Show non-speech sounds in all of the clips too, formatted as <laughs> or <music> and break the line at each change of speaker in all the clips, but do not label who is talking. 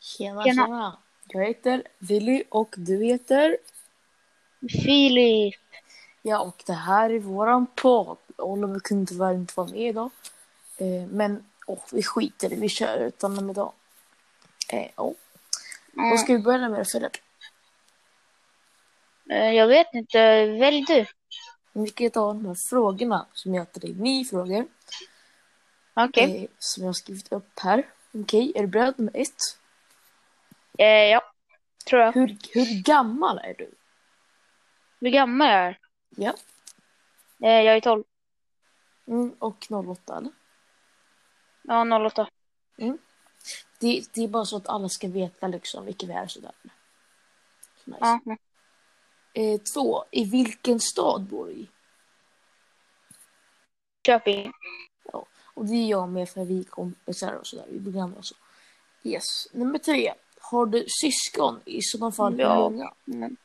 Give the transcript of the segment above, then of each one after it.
Tjena,
Tjena.
tjena, Jag heter Willy och du heter?
Filip.
Ja, och det här är våran podd. Oliver kunde tyvärr inte vara med idag. Eh, men åh, vi skiter i det. vi kör utan honom idag. Eh, åh.
Mm,
Vad ska vi börja med Filip?
eh, Jag vet inte, välj du.
Vi ska ta de här frågorna som jag till dig. Nio frågor
Okej.
eh, som jag har skrivit upp här. Okej, är du beredd? Nummer ett.
Eh, ja, tror jag.
Hur, hur gammal är du?
Hur gammal jag är?
Ja.
Eh, jag är 12.
Mm, och 08 eller?
Ja, 08.
Det, det är bara så att alla ska veta liksom vilka vi är och sådär. Så nice.
Ja. mm.
Eh, två, i vilken stad bor du i?
Köping.
Och det är jag med för vi är kompisar och sådär, vi bor gamla och så. Yes. Nummer tre, har du syskon? I sådana fall, hur
Ja.
många?
Mm.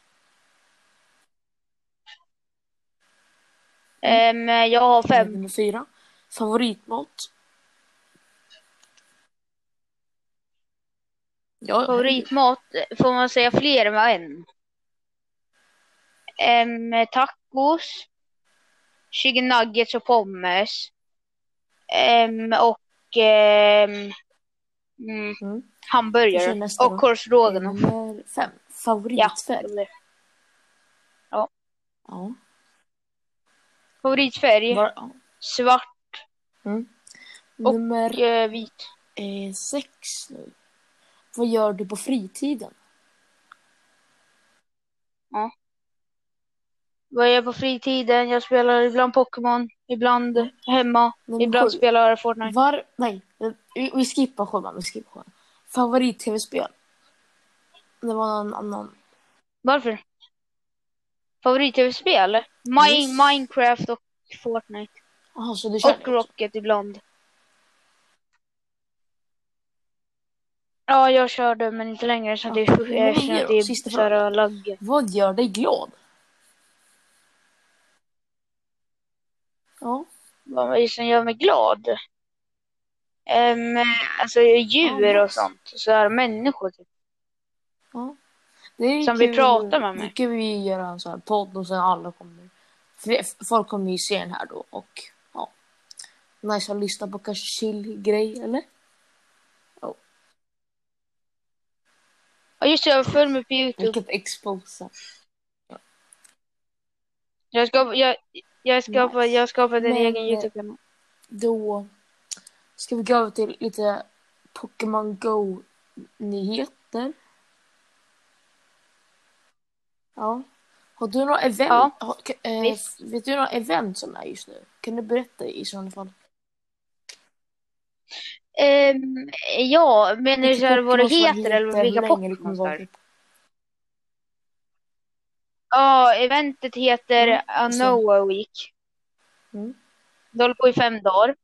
Ehm, jag har fem.
Nummer fyra, favoritmat? Ja,
Favoritmat, får man säga fler än vad en? Ehm, tacos. Chicken nuggets och pommes. Ehm, och ehm, mm,
Mm. Jag kör
hamburgare.
nästa Mm.
Och
då.
korvstroganoff.
Nummer fem, favoritfärg? Ja. Ja.
Favoritfärg,
Var, ja.
svart Och-
Nummer
och eh, vit.
eh, sex nu. Vad gör du på fritiden?
Vad jag gör på fritiden? Jag spelar ibland Pokémon, ibland hemma,
Nummer
ibland
sju.
spelar jag Fortnite.
Var... Nej, vi, vi skippar sjuan. Vi skippar sjuan. Favorit-tv-spel? Det var någon annan.
Varför? Favorit-tv-spel? Mi-
Yes.
Minecraft och Fortnite.
Jaha, så du kör
Och
det också.
Rocket ibland. Ja, jag körde men inte längre så det
Ja.
är, jag
Men vad
känner
gör
att
du?
det är
Sista
så här lagg.
Vad gör dig glad? Ja.
Vad är det som gör mig glad? Um, alltså djur
Ja,
och sånt. Så här, människor typ.
ja. Det är ju
Som vi
kul.
pratar med mig.
Nu kan vi göra en sån här podd och sen alla kommer. för- Folk kommer ju se den här då och ja. Nice att lyssna på kanske chill grej eller?
Ja just det, jag följer mig på Youtube.
Vilket exposa.
Jag skapar, jag, jag skapar,
Nice.
jag skapar en
Men,
egen
eh,
Youtube-kanal.
Då ska vi gå över till lite Pokémon Go-nyheter. Ja. Har du några event?
Ja.
Har, k- eh,
Visst.
vet du några event som är just nu? Kan du berätta i sådana fall?
Ehm, ja, men är det så här vad det
Pokémon som
heter, eller vilka
hur länge det kommer
Pokémon
vara. typ.
det är? Ja, eventet heter
Mm,
A
så.
Noah Week.
Mm.
Det håller på i fem dagar.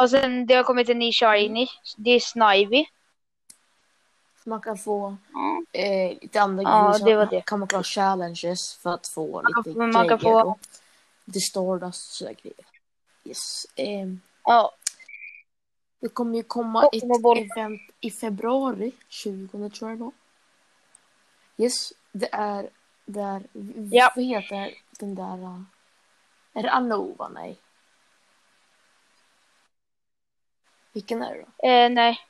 Och sen det har kommit en ny shiny. Det är Snivy.
Så Man kan få eh, lite andra
Ja,
grejer. så
det var det.
Kan man klara challenges för att få
kan
lite
få- man
grejer.
kan få-
Då. Lite Stardust och sådär grejer. Yes. Ehm,
Ja,
Det kommer ju komma ett
Pokémon Boll.
event i februari, 20 tror jag då. Yes, det är där,
Ja.
vad heter den där, uh, är det Anova? Nej. Vilken är det då?
eh, nej.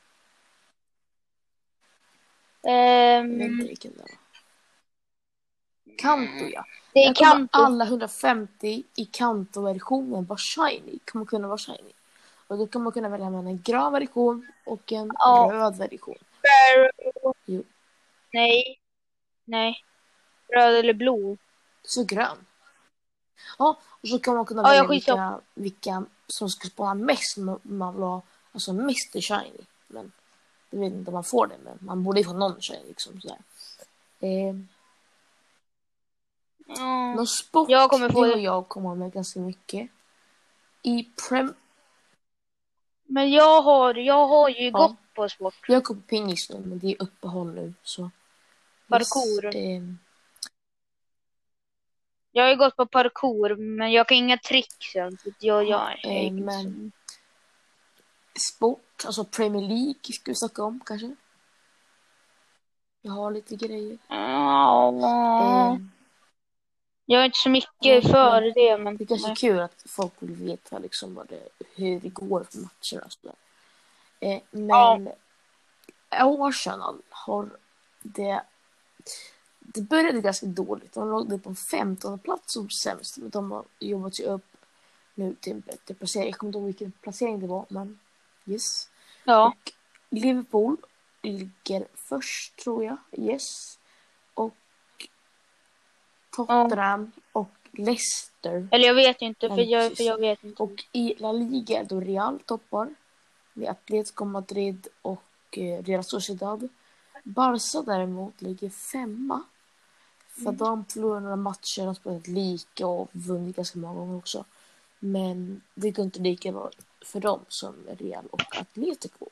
Ehm,
Jag vet
Mm.
inte vilken det är. Kanto ja.
det
Där
är
kommer
Kanto.
Alla 150 i Kanto-versionen var shiny, kommer kunna vara shiny. Och då kommer man kunna välja mellan en grön version och en
Ja.
röd version.
Sparrow.
Jo.
Nej. Nej. Röd eller blå.
Så grön. Ja, och så kan man kunna
Ja,
välja
jag
vilka, vilka som ska spana mest om man vill ha alltså mest i shiny. Men jag vet inte om man får det, men man borde ju få någon shiny liksom sådär. Eh,
Ja.
någon sport,
Jag kommer få
det
det.
och jag kommer med ganska mycket. I prem,
Men jag har, jag har ju
Ja.
gått på sport.
jag kommer på pingis nu, men det är uppehåll nu så.
Parkour.
Yes, eh,
Jag har ju gått på parkour, men jag kan inga tricks än. så att Jag, jag är
eh,
inte
men-
så-
sport. Alltså Premier League ska vi snacka om kanske. Jag har lite grejer.
Ja.
Eh,
Jag är inte så mycket för det, men...
det kanske är kul att folk vill veta liksom vad det, hur det går för matcher och sådär. Eh, men Arsenal har det... Det började ganska dåligt. De låg på en 15 plats som sämst. Men de har jobbat sig upp nu till en bättre placering. Jag kommer inte ihåg vilken placering det var, men yes.
Ja.
Och Liverpool ligger först tror jag. Yes. Och Tottenham och Leicester.
Eller jag vet inte,
Nej,
för jag,
precis.
för jag vet inte.
Och i La Liga är då Real toppar. Med Atletico Madrid och eh, Real Sociedad. Barca däremot ligger femma. För de förlorade några matcher, de spelade lika och vunnit ganska många gånger också. Men det går inte lika bra för dem som Real och Atletico.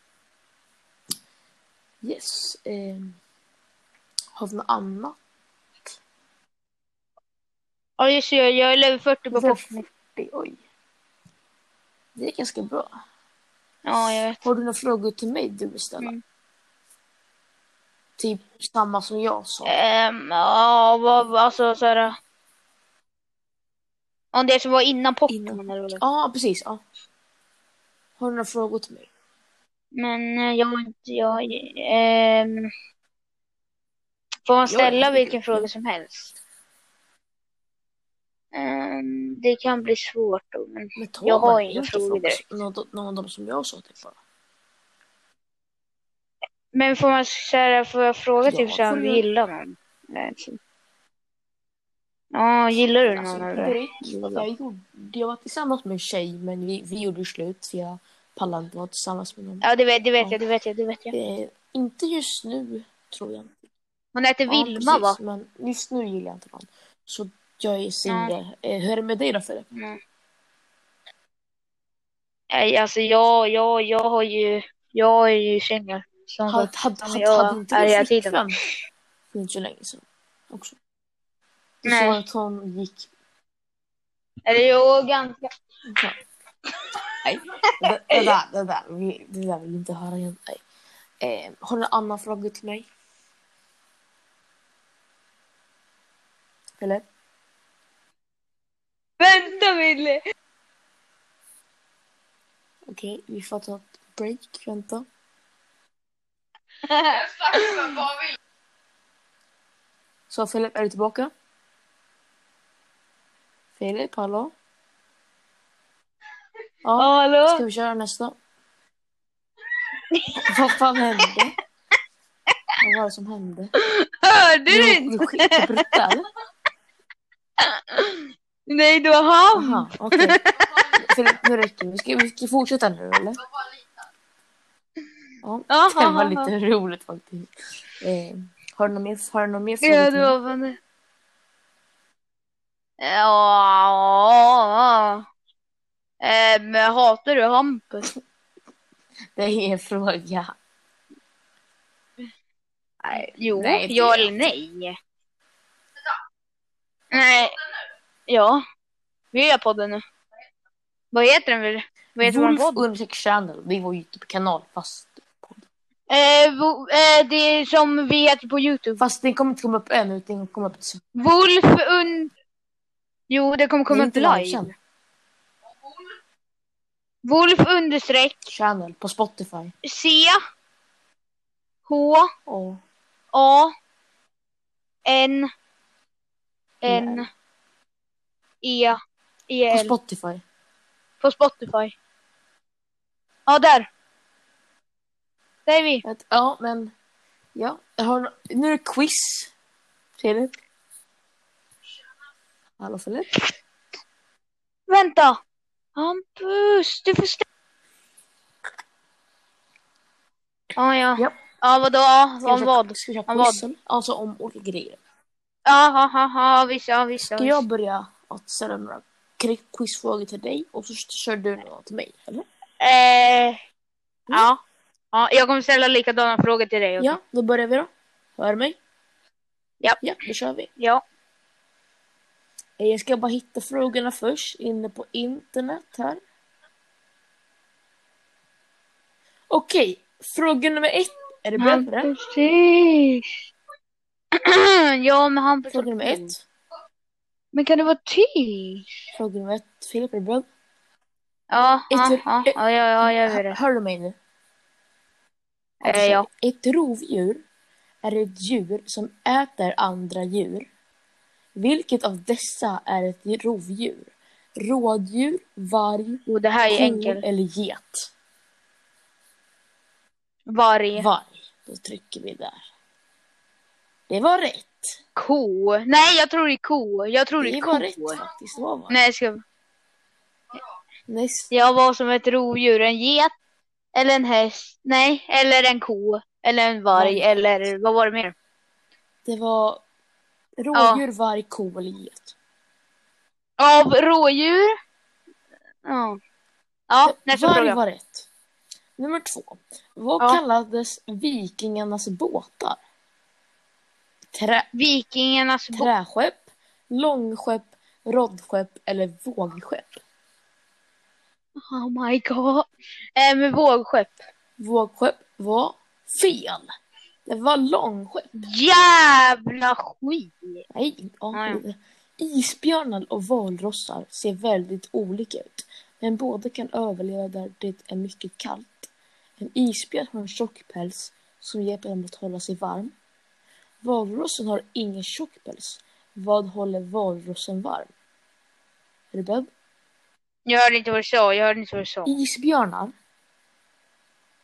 Yes. Eh, har vi något annat?
Ja, just det, jag, jag är level 40 på boxning.
40, oj. Det är ganska bra.
Ja, jag vet.
Har du några frågor till mig du vill ställa?
Mm.
Typ samma som jag sa.
Ehm, ja, vad, vad- alltså så här... Om det som var innan Pokémon
Innan-
eller vad det var.
Ja, precis. Ja. Har du några frågor till mig?
Men eh, jag har inte, jag... ehm, får man
Ja,
ställa
jag-
vilken fråga som helst? Ehm, det kan bli svårt då, men...
Men ta
Jag har
bara
inga
en
frågor
fråga,
direkt.
Någon, någon av dem som jag sa typ bara.
Men får man säga, får jag fråga
Ja,
typ så här,
får
om
du.
du gillar någon? Nej, typ. Ja, gillar du någon
Alltså,
eller?
direkt, jag, gjorde, jag var tillsammans med en tjej men vi, vi gjorde slut för jag pallade inte vara tillsammans med någon.
Ja, det vet, det vet
Ja.
jag, det vet jag, det vet jag.
Eh, inte just nu tror jag.
Hon heter
Ja,
Vilma va?
precis, Men just nu gillar jag inte någon. Så jag är singel. Eh, hur är det med dig då Filip?
Nej, alltså jag, jag, jag har ju, jag är ju singel. Som
Hade,
sagt.
hade, hade,
Ja, jag
hade inte
är
du
hela tiden.
flickvän för inte så länge sedan? Också. Du
Nej.
sa att hon gick...
Eller jo, ganska.
Ja. Nej, det, det, där, det, där, vi- det där vill vi inte höra igen. Nej. Eh, har du en annan fråga till mig? Eller?
Vänta <laughs> Wille!
Okej, vi får ta ett break. Vänta. Så Filip, är du tillbaka? Filip, hallå? Ja, ska
Hallå?
vi köra nästa? Vad fan hände? Vad var det som hände?
Hörde du
Jo,
inte?
vi skickade brutta, eller?
Nej, det var han!
Aha, okej.
Mm.
Filip, nu räcker det. Vi ska, vi ska fortsätta nu, eller? Ja, det var lite roligt faktiskt. Eh, har du någon mer, har du någon mer fråga
Ja,
till
det
mig?
var fan det. Ja. Ehm, hatar du Hampus?
Det är en fråga. Nej,
Jo,
Nej, det
ja
gör jag
eller nej? Nej. Ja. Vi gör podden nu. Vad heter den väl? Vad heter vår
Wolf
podd?
Undersök Channel, det är vår YouTube-kanal. Fast,
Eh, vo- eh, det är som vi heter på Youtube.
fast den kommer inte komma upp än, utan den kommer komma upp sen.
Wolf und... Jo, det kommer komma upp
Det är inte live
live.
sen.
Wolf understreck
Channel på Spotify.
C H
Och
A N N
Nej.
E E
på
L
Spotify.
på Spotify. Ja, där. Där är vi.
Att- Ja, men... Ja, jag har, nu är det quiz. Filip. Hallå Filip.
Vänta. Hampus, du får ställa. Ja, ja.
Japp.
Ja, vadå? Ja,
Ska vi
Om
köra-
vad?
Ska vi köra
Om vad?
quiz? eller? Alltså om olika grejer.
Ja, ja, ja, ja, visst, ja, visst. ja,
Ska
visst.
jag börja att ställa några kri- quizfrågor till dig och så kör du några till mig, eller?
Eh, ja. ja. Jag kommer ställa likadana frågor till dig. också.
Ja, då börjar vi då. Hör du mig?
Japp.
Ja, då kör vi.
ja.
Eh, Jag ska bara hitta frågorna först inne på internet här. Okej, fråga nummer ett. Är du beredd på
Ja,
det?
precis. <clears throat> ja, men han...
Fråga nummer ett.
Men kan det vara tyst?
Fråga nummer ett. Filip, är du beredd?
Ja, ja,
Ett-
ja, ja, ja, jag gör det.
Hör du mig nu? Alltså,
Eh, ja.
Ett rovdjur är ett djur som äter andra djur. Vilket av dessa är ett rovdjur? Rådjur, varg,
Jo, Oh, det här är
ko
enkelt.
eller get?
Varg.
Varg. Då trycker vi där. Det var rätt.
Ko. Nej, jag tror det är ko. Jag tror det
Det
är
var
ko.
rätt faktiskt. Det var varg.
Nej, jag ska...
Nästa.
Jag var som ett rovdjur, en get eller en häst, nej, eller en ko, eller en varg,
Ja.
eller vad var det mer?
Det var rådjur, varg, ko eller get.
Av rådjur? Ja,
Eh,
ja nästa
varg
fråga.
var rätt. Nummer två. Vad
Ja.
kallades vikingarnas båtar? Trä,
Vikingarnas bo-
träskepp, långskepp, roddskepp eller vågskepp?
Oh my god. Eh, med vågskepp.
Vågskepp var fel. Det var långskepp.
Jävla skit.
Nej, ja.
Ah, ja.
Isbjörnar och valrossar ser väldigt olika ut. Men båda kan överleva där det är mycket kallt. En isbjörn har en tjock päls som hjälper dem att hålla sig varm. Valrossen har ingen tjock päls. Vad håller valrossen varm? Är du beredd?
Jag hörde inte vad du sa, jag hörde inte vad du sa.
Isbjörnar.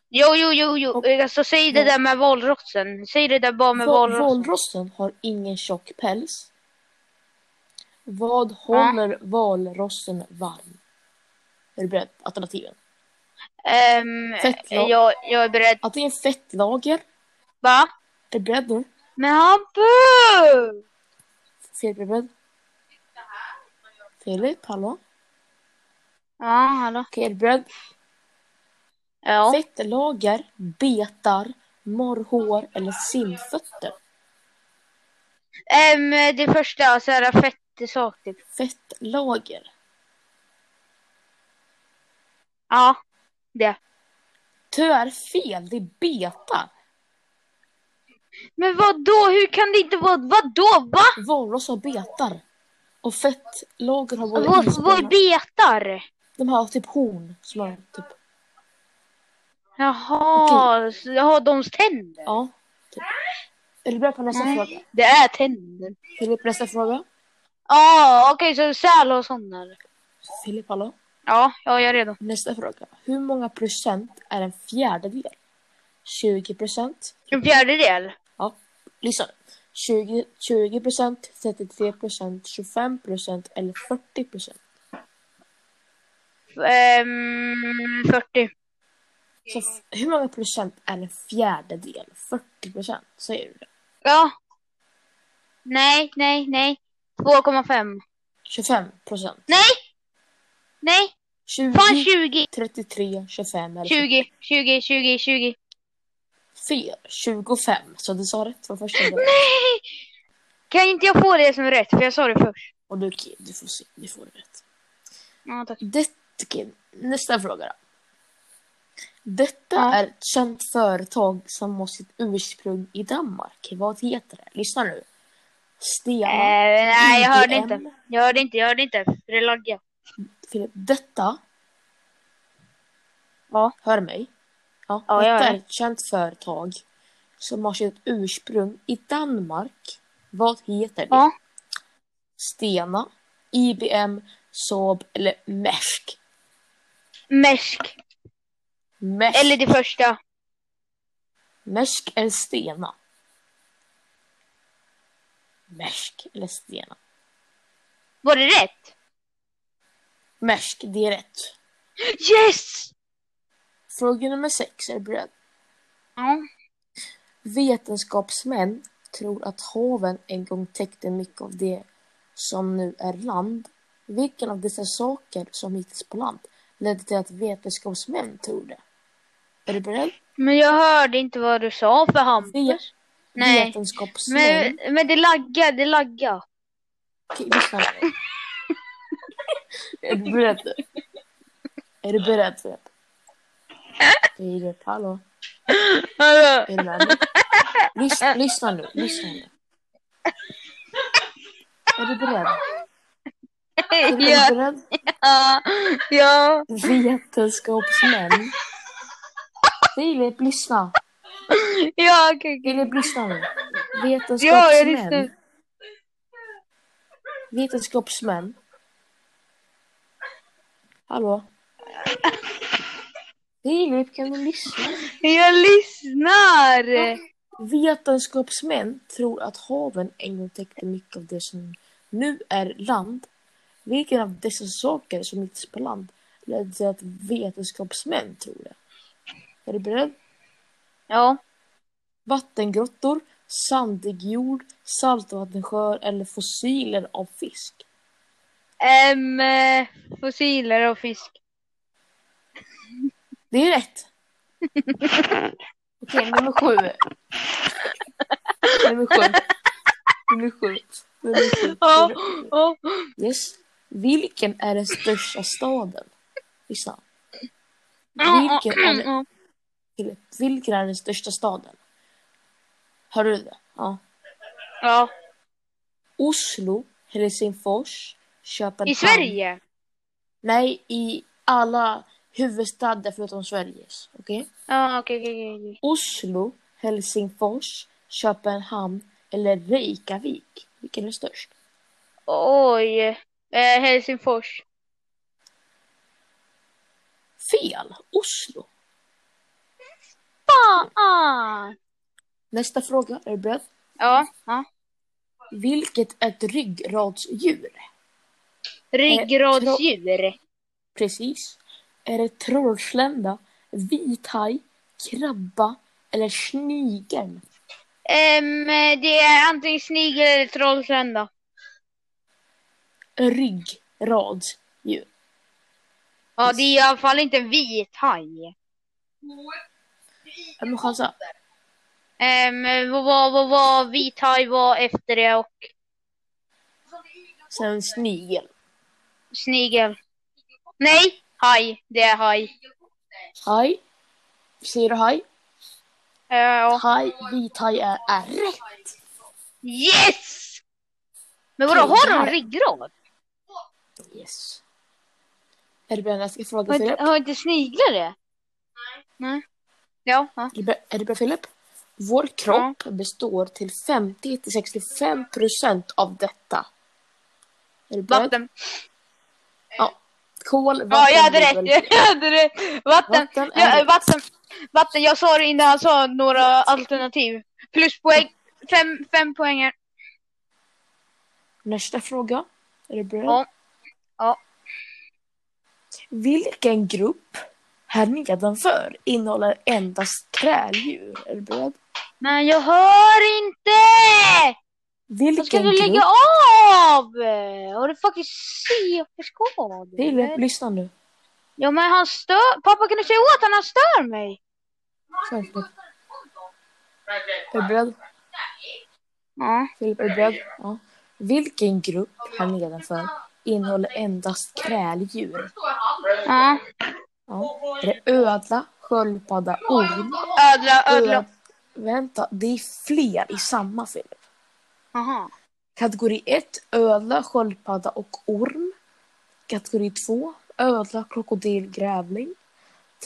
Jo, jo, jo, jo.
Och-
Alltså, säg det
Ja.
där med valrossen. Säg det där bara med
Va-
valrossen.
valrossen har ingen tjock päls. Vad håller
Ah.
valrossen varm? Är du beredd? Alternativen.
Ehm,
Fett, ja.
jag, jag är beredd.
Antingen fettlager.
Va?
Är du beredd nu?
Men Hampus!
Filip, är du beredd? Filip, hallå?
Ja, hallå.
Okej, är du beredd?
Ja.
Fettlager, betar, morrhår eller simfötter?
Ehm, det första, så här fett sak typ.
Fettlager.
Ja, det.
Tyvärr fel, det är betar.
Men vad då? Hur kan det inte vara... Vad då? Va?
Valros har betar. Och fettlager har både
Vad, vad
isbjörnar.
betar?
De har typ horn. Som har typ,
Jaha, så- jaha, de tänder.
ja. Typ. Är du beredd på nästa
Nej.
fråga?
Det är tänder.
Filip, nästa fråga.
Ja, okej, så säl och sådana.
Filip, hallå?
Ja, ja, jag är redo.
Nästa fråga. Hur många procent är en fjärdedel? 20 procent?
En fjärdedel.
Ja, lyssna. 20, 20 procent, 33 procent, 25 procent eller 40 procent.
Ehm, 40.
Så f- hur många procent är en fjärdedel? 40 procent, säger du det?
Ja. Nej, nej, nej. 2,5.
25 procent?
Nej,
20,
fan 20.
33, 25 eller
20, 20, 20, 20.
fel. 25, så du sa rätt från första början.
Nej! Kan inte jag få det som rätt? För jag sa det först.
Och du, okej, du får se, du får rätt.
Ja, tack.
Det, okej, nästa fråga då. Detta
Ja.
är ett känt företag som har sitt ursprung i Danmark. Vad heter det? Lyssna nu.
Eh,
Stena.
nej, jag hörde
IGN.
inte. Jag hörde inte, jag hörde inte. För det laggade.
Filip, detta.
Ja.
Hör du mig? Ja,
Ja, jag
detta
hör
är ett känt företag som har sitt ursprung i Danmark. Vad heter det?
Ja.
Stena, IBM, Saab eller Maersk?
Mäsk.
Maersk,
Eller det första.
Maersk eller Stena? Maersk eller Stena?
Var det rätt?
Maersk, det är rätt.
Yes!
Fråga nummer sex, är du beredd?
Ja.
Vetenskapsmän tror att haven en gång täckte mycket av det som nu är land. Vilken av dessa saker som hittas på land ledde till att vetenskapsmän trodde? Är du beredd?
Men jag hörde inte vad du sa för
Ve-
Hampus. Nej.
Vetenskapsmän.
Men, men det laggade, det laggade.
Okej, lyssna nu.
<laughs>
Är du beredd? Är du beredd? Filip? Filip, hallå? Är du med mig? Lyssna, lyssna nu, lyssna nu. Är du beredd? Är du
<laughs> Ja,
beredd?
ja, ja.
Vetenskapsmän. Filip, lyssna.
Ja, okej, okej.
Filip, lyssna nu.
Ja, jag lyssnar.
Vetenskapsmän. Vetenskapsmän. Hallå? Filip, kan du lyssna?
Jag lyssnar!
Vetenskapsmän tror att haven en gång täckte mycket av det som nu är land. Vilken av dessa saker som hittas på land ledde till att vetenskapsmän tror det? Är du beredd?
Ja.
Vattengrottor, sandig jord, saltvattensjöar eller fossiler av fisk?
Ehm, eh, fossiler och fisk.
Det är rätt! <laughs> Okej, nummer sju. Nummer <laughs> sju. Nummer sju. Nummer sju.
Ja, ja.
Yes. Vilken är den största staden? Lyssna. Vilken är, den-
Ja,
Filip, vilken är den största staden? Hör du det? Ja.
ja.
Oslo, Helsingfors, Köpenhamn.
I Sverige?
Nej, i alla huvudstäder förutom Sveriges. Okej?
Ja, okej, okej, okej.
Oslo, Helsingfors, Köpenhamn eller Reykjavik. Vilken är störst?
Oj. Eh, Helsingfors.
Fel! Oslo.
Fan!
Nästa fråga, är du beredd?
Ja, ja.
Vilket är ett ryggradsdjur?
Eh, Ryggradsdjur.
Precis. Är det trollslända, vithaj, krabba eller snigeln?
Ehm, det är antingen snigel eller trollslända.
Ryggradsdjur.
Ja, det är i alla fall inte en vit haj.
Ja, Men chansa.
Ehm, vad var, vad var, vit haj var efter det och
Sen snigel.
snigel. Nej, haj. Det är haj.
Haj. Ser du haj?
Eh, ja.
Haj, vithaj är är rätt.
Yes! Men vadå, har de ryggrad?
Yes. Är du beredd nästa fråga
Har
Filip?
inte, har inte sniglar det? Nej. Ja, ja.
Är du beredd- Är du beredd Filip? Vår kropp består till 50-65 procent av detta. Är du beredd?
Vatten.
Kol,
Ja, jag hade
bibel.
rätt. <laughs> Jag hade rätt. Vatten.
Vatten är
Ja,
rätt.
vatten. Vatten. Jag sa det innan han sa några alternativ. Pluspoäng. Fem, fem poänger.
Nästa fråga. Är du beredd?
Ja. Ja.
Vilken grupp här nedanför innehåller endast trädjur? Är du beredd?
Men jag hör inte! Då
Vilken
ska du lägga
grupp?
av! Har du fucking CP-skador?
Filip, lyssna nu.
Ja, men han stör. Pappa, kan du säga åt honom? Han stör mig.
Säkert. Är du beredd?
Ja.
Filip, är du beredd? Ja. Vilken grupp här nedanför innehåller endast kräldjur?
ja.
Ja. Är det ödla, sköldpadda, orm?
Ödla, ödla.
Vänta, det är fler i samma Filip.
Aha.
Kategori 1, ödla, sköldpadda och orm. Kategori 2, ödla, krokodil, grävling.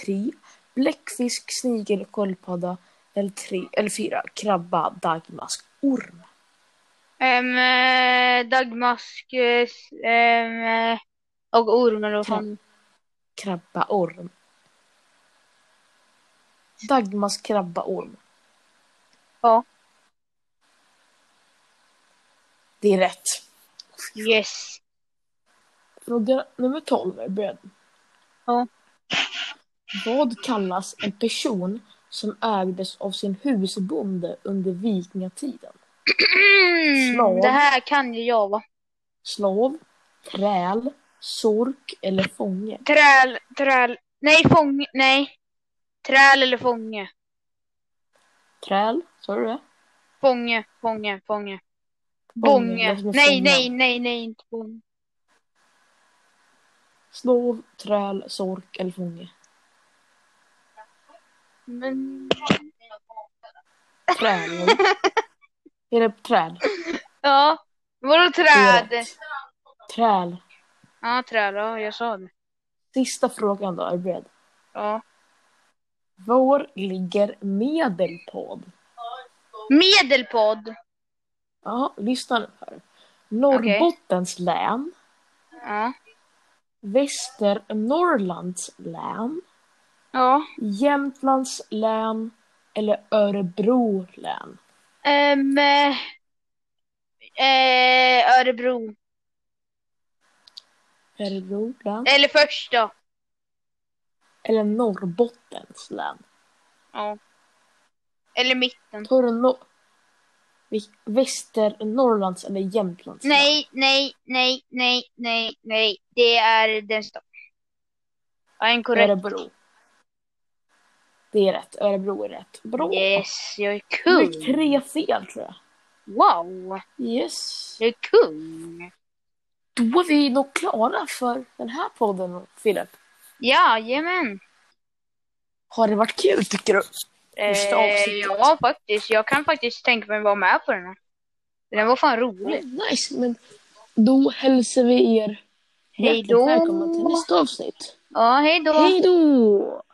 3, bläckfisk, snigel, sköldpadda. Eller, tre, eller 4, krabba, dagmask, orm.
Um, dagmask eh, s- ehm, eh, och orm eller vad fan.
Krabba, orm. Dagmask, krabba, orm.
Ja.
Det är rätt.
Yes.
Fråga nummer 12 är beredd.
Ja.
Vad kallas en person som ägdes av sin husbonde under vikingatiden? Slav.
Mm, det här kan ju jag va.
Slav, träl, sork eller fånge?
Träl, träl. Nej, fånge. Nej. Träl eller fånge.
Träl, sa du det?
Fånge, fånge, fånge.
det
Bånge.
låter som
Nej,
alltså fånga.
nej, nej, nej, inte bånge.
Slav, träl, sork eller fånge?
Men... <laughs>
Träd. Är det träd?
Ja. Vadå träd?
Rätt. Träd.
Ja, träd. Ja, jag sa det.
Sista frågan då, är du beredd?
Ja.
Var ligger Medelpad?
Medelpad.
Ja, lyssna nu här. Norrbottens län,
Ja.
Västernorrlands län,
Ja.
Jämtlands län eller Örebro län?
Ehm, eh, eh, Örebro.
Örebro län
Eller först då.
eller Norrbottens län?
Ja. Eller mitten.
Tar du no- Vi- Västernorrlands eller Jämtlands län?
Nej, nej, nej, nej, nej, nej. Det är den största. Ja, en korrekt.
Örebro. Det är rätt. Örebro är rätt. Bra.
Yes, jag är
Det
kung.
är tre fel tror jag.
Wow,
Yes.
jag är kung.
Då är vi nog klara för den här podden, Filip.
Jajamän.
Har det varit kul tycker du? Första
Eh,
avsnittet.
ja, faktiskt. Jag kan faktiskt tänka mig vara med på den här. Den var fan rolig.
Nice, men då hälsar vi er
Hej
hjärtligt
då.
välkomna till nästa avsnitt.
Ja, hej då.
Hej då!